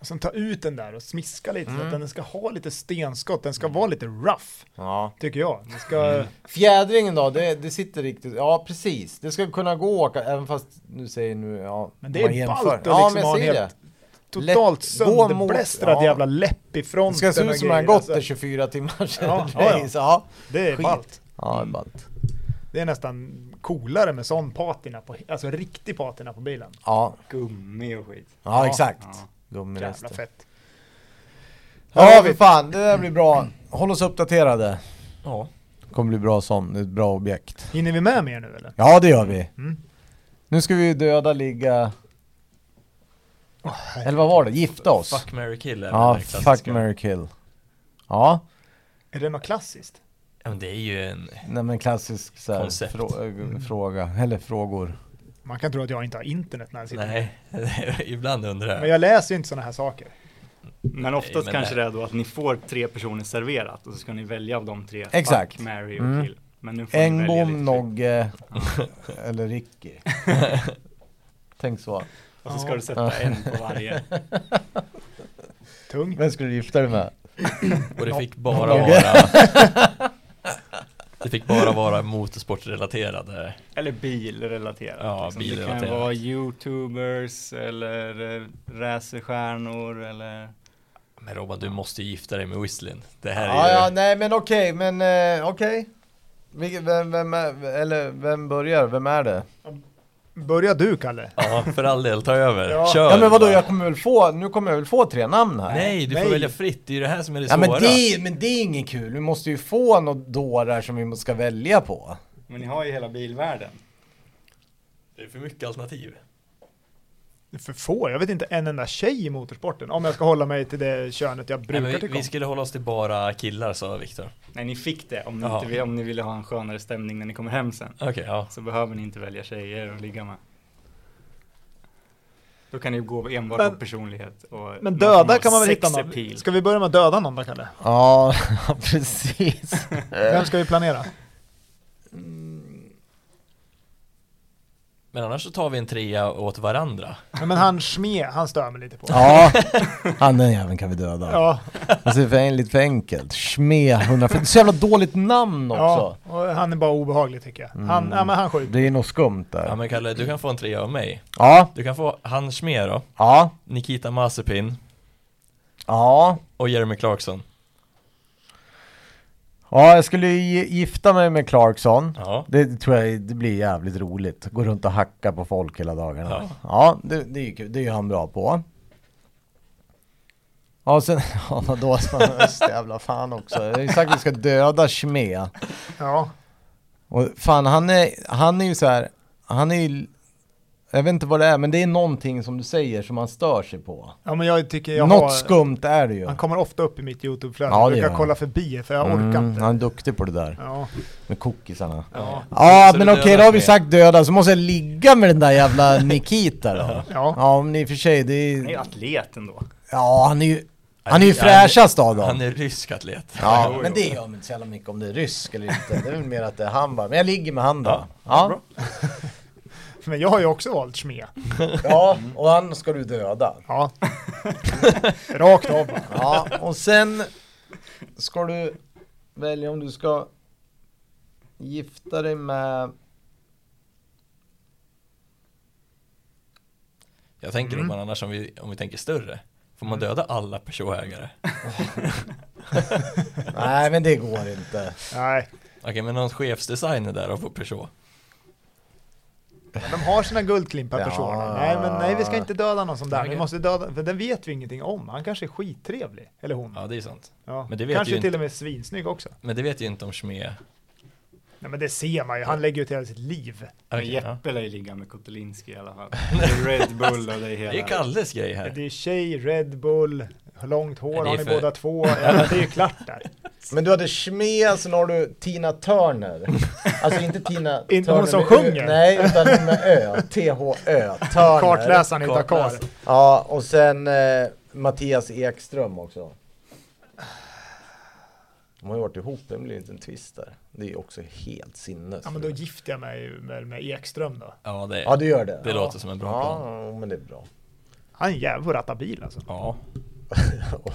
Och sen ta ut den där och smiska lite så
Mm.
att den ska ha lite stenskott, den ska vara lite rough,
ja.
tycker jag. Den ska,
Fjädringen då, det, det sitter riktigt, ja precis. Det ska kunna gå att åka, även fast nu säger nu, ja.
Men det
om man
är ballt
jämför.
att
Ja,
liksom
men
ha
jag
en
ser
helt-
det.
totalt
Lätt- gå mot-
sönderblästrad
ja.
jävla läpp i
Det
fronten.
ska se
och
ut som
grejer,
han gått
alltså.
där 24 timmar sedan.
Ja,
eller
ja,
någonting,
ja.
Så, ja.
Det är
Skit.
ballt.
ja, det är ballt.
Det är nästan coolare med sån patina, på, alltså riktig patina på bilen.
Ja,
Gummi och skit.
ja
Ja.
exakt.
Ja.
Jävla
Gummirester.
fett.
Ja, för fan. Det där blir bra. Håll oss uppdaterade.
Ja.
Kommer bli bra som ett bra objekt.
Hinner vi med mer nu eller?
Ja, det gör vi.
Mm.
Nu ska vi ju döda, ligga... Eller vad var det? Gifta oss?
Fuck, marry, kill är
Ja,
väl den
fuck,
klassiska.
marry, kill. Ja,
Är det något klassiskt?
Ja, men det är ju en...
nej men klassisk så här,
Koncept.
frå- äh, fråga, eller frågor.
Man kan tro att jag inte har internet när jag sitter
Nej, ibland undrar jag.
Men jag läser ju inte sådana här saker.
Men oftast
Nej, men
kanske
det-
det är då att ni får tre personer serverat och så ska ni välja av de tre.
Exakt.
Fuck, marry och
Mm.
kill. Men nu får ni välja
Engom,
lite fritt.
Nogge eller Ricky. Tänk så.
Och så ska
Ja.
du sätta en på varje.
Tungt.
Vem skulle du gifta dig med?
Och det fick bara
Okej.
vara... Det fick bara vara motorsportrelaterade.
Eller bilrelaterat. liksom.
Ja,
Det kan
bilrelaterat.
ju vara youtubers eller eh, racerstjärnor eller
Men Robban, du måste ju gifta dig med Whistling. Det här
Ja,
är
ja,
ju...
nej men okej, men eh, okej. Vilket- Vem, vem, är- eller vem börjar? Vem är det?
Börja du Kalle.
Ja, för all del, ta över.
Ja.
Kör!
Ja men vadå,
bara.
jag kommer väl få, nu kommer jag väl få tre namn här?
Nej, du
Nej.
får välja fritt. Det är ju det här som är det
Ja
svåra.
men det, men det är inget kul, vi måste ju få några dårar som vi måste- ska välja på.
Men ni har ju hela bilvärlden.
Det är för mycket alternativ.
Det är För få, jag vet inte en enda tjej i motorsporten. Om jag ska hålla mig till det könet jag
Nej,
brukar
men vi,
tycka om.
vi skulle hålla oss till bara killar, sa Viktor.
Nej, ni fick det om ni,
Jaha.
inte, vill- om ni ville ha en skönare stämning när ni kommer hem sen.
Okej, ja.
Så behöver ni inte välja tjejer att ligga med. Då kan ni gå enbart
Men-
på personlighet och
Men döda
och
kan man väl
sex
hitta någon?
appeal.
Ska vi börja med att döda någon då Kalle?
Ja, precis. Eh.
Vem ska vi planera?
Men annars så tar vi en trea åt varandra.
Ja, Men han Schmee, han stör mig lite på.
Ja, han den jäveln kan vi döda.
Ja,
Alltså det är för, lite för enkelt. Schme 140. Så jävla dåligt namn också.
ja, och han är bara obehaglig tycker jag. Han,
Mm.
ja, men han skjuter.
Det är något skumt
Ja
där.
men Kalle, du kan få en trea av mig.
Ja,
Du kan få Hans Schmier då,
ja,
Nikita Mazepin
ja.
och Jeremy Clarkson.
Ja, jag skulle ju gifta mig med Clarkson.
Ja.
Det tror jag det blir jävligt roligt. Gå runt och hacka på folk hela dagarna. Ja,
Ja.
det, det är ju kul. Det är ju han bra på. Ja, och sen... Ja, vadå? Öst, jävla fan också. Jag har ju sagt att vi ska döda Schme.
Ja,
Och fan, han är, han är ju så här, han är ju, jag vet inte vad det är, men det är någonting som du säger som han stör sig på.
ja men jag tycker jag
Något
har...
skumt är det ju.
Han kommer ofta upp i mitt YouTube-flöde.
Ja, det
jag
gör
brukar
han.
kolla förbi för jag orkar
Mm,
inte.
han är duktig på det där,
Ja,
med kokisarna.
ja,
Ja,
Så
men
du
okej,
dödar
då har vi
mig.
sagt döda, så måste jag ligga med den där jävla Nikita då.
ja.
Ja, men i och för sig, det
Han är ju
är,
atlet ändå.
ja han är ju, han är ju fräschast av dem.
Han är rysk atlet.
Ja, men det gör mig inte så jävla mycket om det är rysk eller inte. Det är väl mer att det är han bara, men jag ligger med han då. Ja,
Men jag har ju också valt Schmee.
ja och han ska du döda.
Ja. Rakt av bara.
Ja, och sen ska du välja om du ska gifta dig med...
Jag tänker mm. annars om vi, om vi tänker större. Får man döda alla Peugeot-ägare?
Nej, men det går inte.
Nej,
Okej, men någon chefsdesigner där då på Peugeot?
de har sina guldklimpar personer.
Ja.
Nej, men nej, vi ska inte döda någon som där. Vi
Okej.
måste döda, för den vet vi ingenting om. Han kanske är skittrevlig. Eller hon.
Ja, det är sant.
Ja.
Men det vet
kanske
ju
till
inte.
och med svinsnygg också.
Men det vet ju inte om Schmee.
Nej, men det ser man ju. Han lägger ut hela sitt liv.
Men
Okej, ja.
Jeppe lär ju ligga med Kotelinski i alla fall. Det är Red Bull och det är hela.
Det är Kalles grej här.
Det är tjej, Red Bull, långt hår
Det är
har ni
för-
båda två. Ja, men det är ju klart där.
Men du hade Schmee, sen har du Tina Turner. Alltså inte Tina Turner.
Inte hon som
med Ö,
sjunger.
Nej, utan hon med Ö. T-H-Ö. Turner.
Kartläsaren inte har kvar.
Kartläsaren.
Ja, och sen eh, Mattias Ekström också. De har ju varit ihop, det blir ju inte en twist där. Det är ju också helt sinnes.
Ja, men då gifter jag mig ju med, med Ekström då.
Ja, det,
Ja, du gör det.
det låter som en bra plan.
Ja, men det är bra.
Han är en jävel på att ratta bil alltså.
Ja.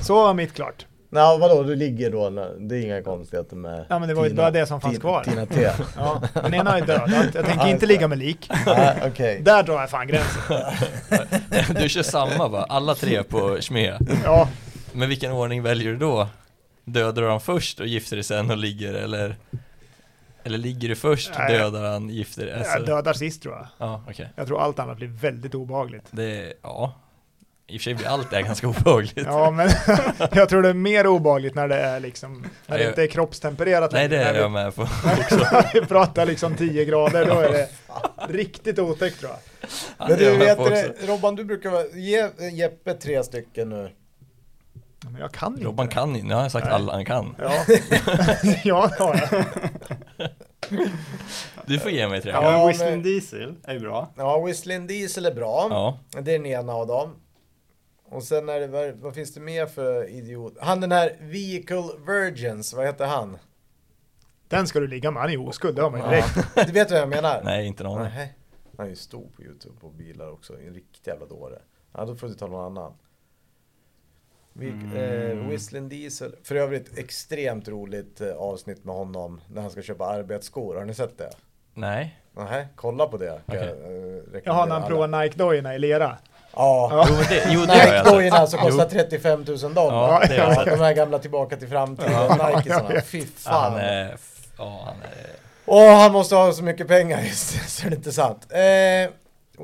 Så var mitt klart.
Nej, vadå, du ligger då, när- det är inga konstigheter med
Ja, men det var ju
Tina-
bara det som fanns
Ti-
kvar.
Tina T.
Ja, den ena är dödat, jag tänker inte ligga med lik.
Nej, okej.
Där drar jag fan gränsen.
Du kör samma va? Alla tre på Schmea.
Ja,
Men vilken ordning väljer du då? Dödar du han först och gifter dig sen och ligger eller? Eller ligger du först,
Nej.
dödar han, gifter dig?
jag
Alltså,
dödar sist tror jag.
ja, okej.
Jag tror allt annat blir väldigt obehagligt.
Det är, ja. I och för sig blir allt det här ganska obehagligt.
Ja, men jag tror det är mer obehagligt när det är liksom, när det
Nej,
inte är kroppstempererat.
Nej, det är
när
jag
vi,
med på.
vi pratar liksom 10 grader, då är det riktigt otäckt tror jag.
Ja,
Men
det är
du
jag med
vet
på
det,
också.
Robban, du brukar vara- ge Jeppe tre stycken nu.
Ja, Men jag kan ju
Robban
inte.
kan ju, nu har jag sagt
Nej.
alla han kan.
Ja, ja det har jag.
Du får ge mig tre.
Ja.
Ja.
men-
Ja, Whistling Diesel är ju bra.
Ja, Whistling Diesel är bra.
ja.
Det är den ena av dem. Och sen är det, vad, vad finns det mer för idiot? Han den här Vehicle Virgins, vad heter han?
Den ska du ligga med, han är oskuld, det hör man ju direkt.
Du vet vad jag menar?
Nej, inte någon.
Nähä. Han är ju stor på Youtube på bilar också, en riktig jävla dåre. Ja, då får du ta någon annan. Vi,
Mm.
eh, Whistling Diesel, för övrigt extremt roligt eh, avsnitt med honom när han ska köpa arbetsskor. Har ni sett det?
Nej.
Nähä, kolla på det. Kan
Okej.
jag, eh, rekommendera
Jaha, när
alla.
han provar Nike-dojorna i lera.
Ja,
Jo, men det, jo, det har jag sett.
Nike-dojorna som kostar
Jo.
35 000 dollar.
Ja, det har jag
Ja,
sett.
de här gamla tillbaka till framtiden,
Ja.
Nikesarna.
Ja, ja.
Fy
Ja, Han
fan.
är, f- ja, han är,
Åh, han måste ha så mycket pengar just så det är inte sant. Eh,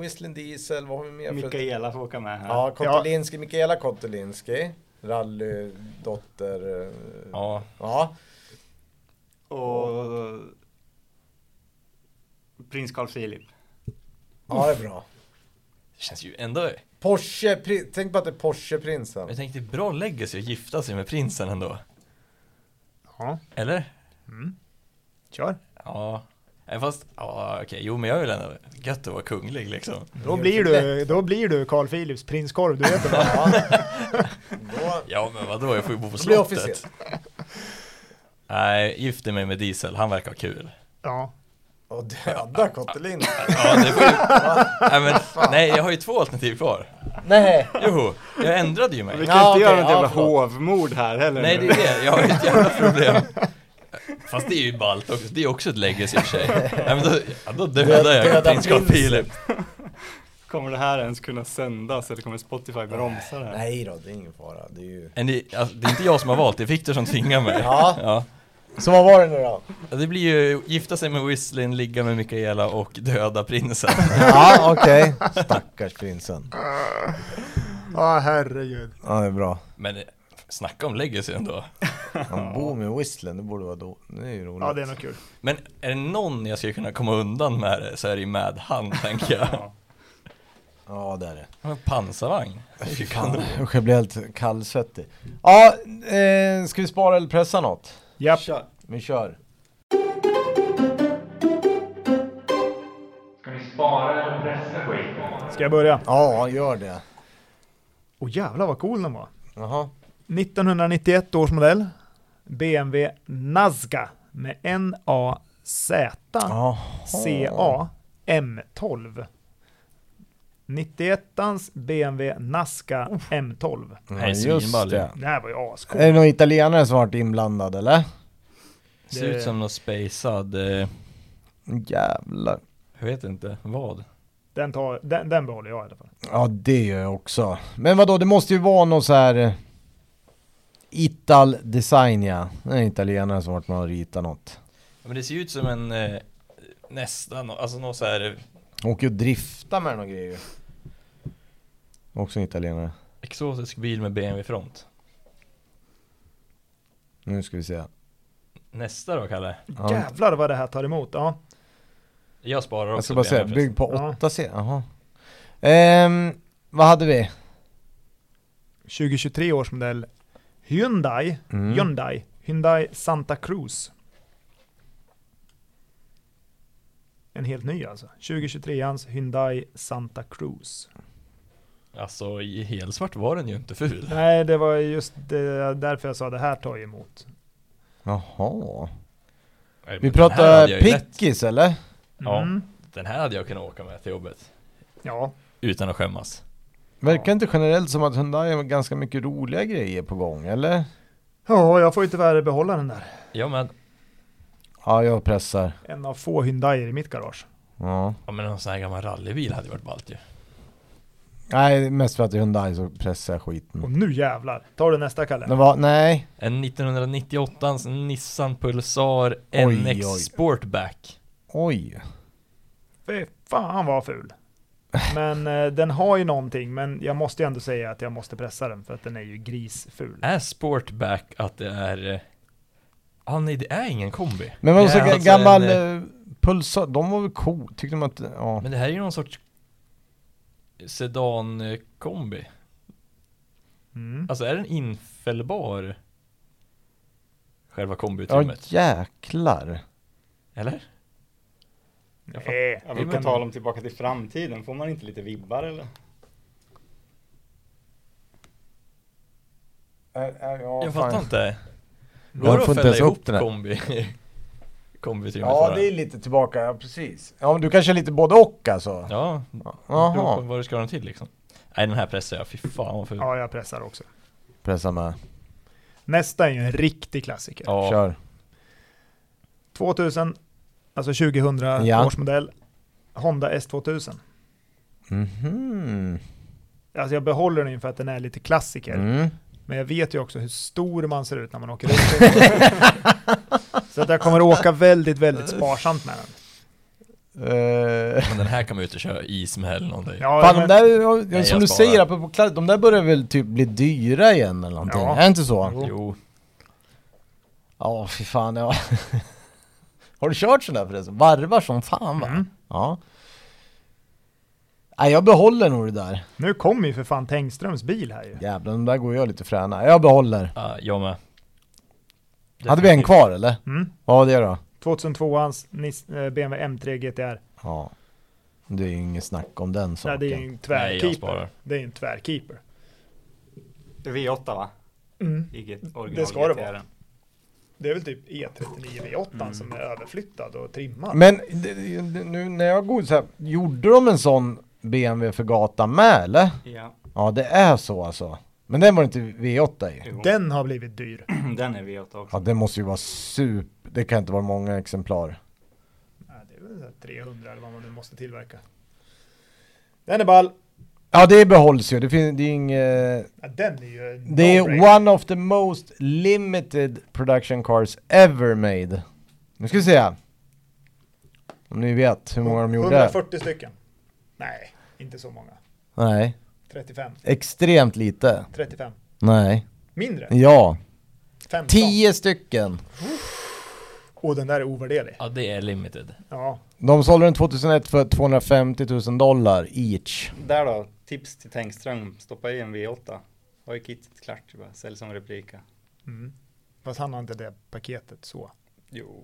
Whistling Diesel, vad har vi mer för...
Mikaela får åka med här.
Ja, Kotolinski, Mikaela Kotolinski. Rallydotter. eh,
ja.
Ja.
Och prins Carl Philip.
ja, det är bra.
Det känns ju ändå,
Porsche, pri- tänk på att det är Porsche-prinsen.
jag tänkte bra legacy att gifta sig med prinsen ändå.
Ja,
Eller?
kör.
Ja. Nej, fast, ja okej, jo men jag vill ändå, gött att vara kunglig liksom.
Då blir du, då blir du Carl Philips prinskorv, du vet det.
Ja. Då,
Ja men vadå, jag får ju bo på
då blir det
slottet.
officiellt.
Nej, gifte mig med Diesel, han verkar ha kul.
Ja,
Och döda Kotolinski.
Ja, det får ju... nej, men, nej, jag har ju två alternativ kvar.
Nej.
Joho, jag ändrade ju mig.
Vi kan
Ja,
inte
okej,
göra något
ja,
jävla
förlåt.
hovmord här heller.
Nej,
nu.
det är det. Jag har ett jävla problem. Fast det är ju ballt också. Det är också ett legacy i och för sig. Nej, men då, ja, då dödar jag
Döda
prins Carl
prinsen.
Philip.
Kommer det här ens kunna sändas eller kommer Spotify bromsa det här?
Nej då, det är ingen fara. Det är ju...
Men Det, alltså, det är inte jag som har valt, det är Viktor som tvingar mig.
Ja. Så vad var det nu då?
Det blir ju gifta sig med Whistling, ligga med Mikaela och döda prinsen.
Ja, okej. Stackars prinsen.
ah, herregud.
Ja, det är bra.
Men eh, snacka om legacy ändå.
Han bor med whistlen, det borde vara då. Det är ju roligt.
Ja, det är nog kul.
Men är det någon jag skulle kunna komma undan med det så är det ju med han, tänker jag.
Ja, det är det.
Ja, men Pansarvagn. Fy fan.
Usch, jag blir helt kallsvettig. Ja, eh, ska vi spara eller pressa något?
Japp.
Kör.
Vi kör.
Ska ni spara eller pressa skiten?
Ska jag börja?
Ja, gör det.
Åh jävlar vad cool den var.
Jaha.
1991 års modell. BMW Nazca med N-A-Z-C-A M12. 91ans BMW Nazca M12.
Nej, svinball.
Det här var ju ascool.
Är det någon italienare som varit inblandad eller?
Ser ut som någon spejsad, eh,
Jävlar.
jag vet inte, vad?
Den, tar, den, den behåller jag i alla fall.
Ja, det gör jag också. Men vadå, det måste ju vara någon så här... eh, Ital Design ja. Det är en italienare som varit med och ritat något.
Ja, men det ser ju ut som en eh, nästan, alltså någon så här
Han åker ju och driftar med någon grej ju. Också en italienare.
exotisk bil med BMW-front.
Nu ska vi se.
Nästa då Kalle?
Ja.
Jävlar vad det här tar emot. Ja.
Jag sparar också
Jag ska bara säga,
BMW
byggd
förresten.
på
Ja.
8 C. Jaha. Ehm, vad hade vi?
2023 års modell Hyundai,
Mm.
Hyundai, Hyundai Santa Cruz. En helt ny alltså. 2023ans Hyundai Santa Cruz.
Alltså i helsvart var den ju inte ful.
Nej, det var just det, därför jag sa det här tar ju emot.
Jaha.
Nej,
Vi
men den här hade
pratar
jag ju lätt-
pickis eller?
Ja.
Mm.
Den här hade jag kunnat åka med till jobbet.
Ja,
Utan att skämmas.
Verkar inte generellt som att Hyundai har ganska mycket roliga grejer på gång eller?
Ja, jag får ju tyvärr behålla den där.
Ja men,
Ja, jag pressar.
En av få Hyundaier i mitt garage.
Ja.
ja, men någon sån här gammal rallybil hade ju varit ballt ju.
Nej, mest för att det är Hyundai så pressar jag
Och
skiten.
nu jävlar. Tar du nästa Kalle?
Det var, nej.
En 1998 Nissan Pulsar
Oj,
NX
oj.
Sportback.
Oj.
Fy fan vad ful. Men eh, den har ju någonting, men jag måste ju ändå säga att jag måste pressa den för att den är ju grisful.
Är Sportback att det är... eh, Ah nej, det är ingen kombi.
Men vadå
Det
så
är alltså
gammal
en, eh,
eh, Pulsar, de var väl cool? Tyckte de att, ja.
Men det här är ju någon sorts sedan-kombi.
Mm.
Alltså är den infällbar? Själva
Ja
kombiutrymmet?
jäklar.
Eller? Jag fattar.
Nej,
Ja, men på tal om Tillbaka till framtiden, får man inte lite vibbar eller?
äh,
Jag fattar inte.
Jag
Går det
får
att
inte
fälla
ens upp
ihop
den här.
kombi? kombiutrymmet
Ja,
bara?
det är lite tillbaka, ja, precis. Ja, men du kanske är lite både och alltså.
Ja, beror på
Jaha.
vad du ska ha den till liksom. Nej den här pressar jag, fy fan vad ful.
Ja, jag pressar också.
Pressa med.
Nästa är ju en riktig klassiker.
Ja.
Kör.
2000, alltså 2000
Ja.
års modell. Honda S2000.
Mhm.
Alltså jag behåller den ju för att den är lite klassiker.
Mm.
Men jag vet ju också hur stor man ser ut när man åker runt. Så att jag kommer åka väldigt, väldigt sparsamt med den.
Eh,
Men den här kan man ju inte köra i smäll någonting.
Ja,
Fan
men-
de där, ja, som
jag
du
sparar.
säger, apropå kladd, de där börjar väl typ bli dyra igen eller någonting?
Ja.
Är det inte så?
Jo,
Ja, fy fan ja. Har du kört sån där förresten? Varvar som fan va?
Mm.
Ja. Nej jag behåller nog det där.
Nu kommer ju för fan Tengströms bil här ju.
Jävlar, de där går jag lite fräna. Jag behåller.
ja, jag med.
Hade vi en kvar eller?
Mm.
Vad var det då?
2002ans Nis- eh, BMW M3 GTR.
Ja. Det är ju inget snack om den
Nej,
saken.
det är ju en
Nej, jag sparar.
tvärkeeper. Det är ju en tvärkeeper.
Det är V8 va?
Mm.
I get-
Det ska det vara.
original-GTR.
Det är väl typ E39 V8 som är överflyttad och trimmad.
Mm. Men det- det- nu när jag går så här, gjorde de en sån BMW för gatan med eller?
Ja,
Ja det är så alltså. Men den var inte V8 i.
jo.
Den har blivit dyr.
den är V8 också.
Ja den måste ju vara super, det kan inte vara många exemplar.
Nej, det är väl så här 300 eller vad man nu måste tillverka. Den är ball.
Ja det behålls ju, det finns, det är inget...
Ja, den är ju... en
Det är
no-brainer.
one of the most limited production cars ever made. Nu ska vi se. Om ni vet hur många de gjorde.
140 Mm. stycken. Nej, inte så många.
Nej.
35.
Extremt lite.
35.
Nej.
Mindre.
Ja.
15.
10 stycken.
Och den där är ovärderlig.
Ja, det är limited.
Ja.
De sålde den 2001 för 250 000 dollar each.
Där då, tips till Tengström. Stoppa i en V8. Har ju kittet klart, bara. sälj som replika.
Mm. Fast han har inte det paketet så.
Jo.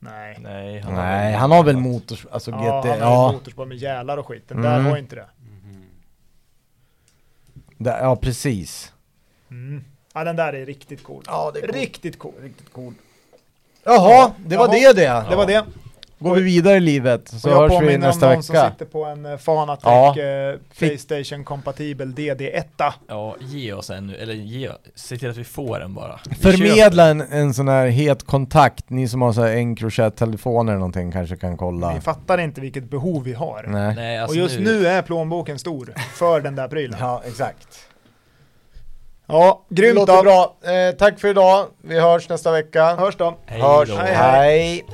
Nej.
Nej, han
Nej, han har väl motors... Alltså
Ja,
GT...
han har ju
Ja,
motorspår med gälar och skit. Den
Mm.
där har ju inte det.
där, ja precis.
Mm. Ja, den där är riktigt cool.
Ja, det är cool.
Riktigt cool. Riktigt cool.
Jaha, det var
Jaha.
det det.
Det var det.
Går vi vidare i livet så
Och jag
hörs vi
påminner om
nästa
någon
vecka.
som sitter på en eh, Fanatec
Ja.
eh, Playstation-kompatibel DD1.
Ja, ge oss en nu, eller ge, se till att vi får en bara. Vi köper
Förmedla en, en sån här het kontakt, ni som har så här Encrochat-telefoner eller någonting kanske kan kolla.
Ni fattar inte vilket behov vi har.
den.
Nej.
Nej, alltså
och just nu är plånboken stor för den där prylen. Ja,
Ja, exakt.
grymt
Låter
då.
bra. Eh, tack för idag, vi hörs nästa vecka.
Hörs då.
Hej
Hörs,
då.
hej. hej.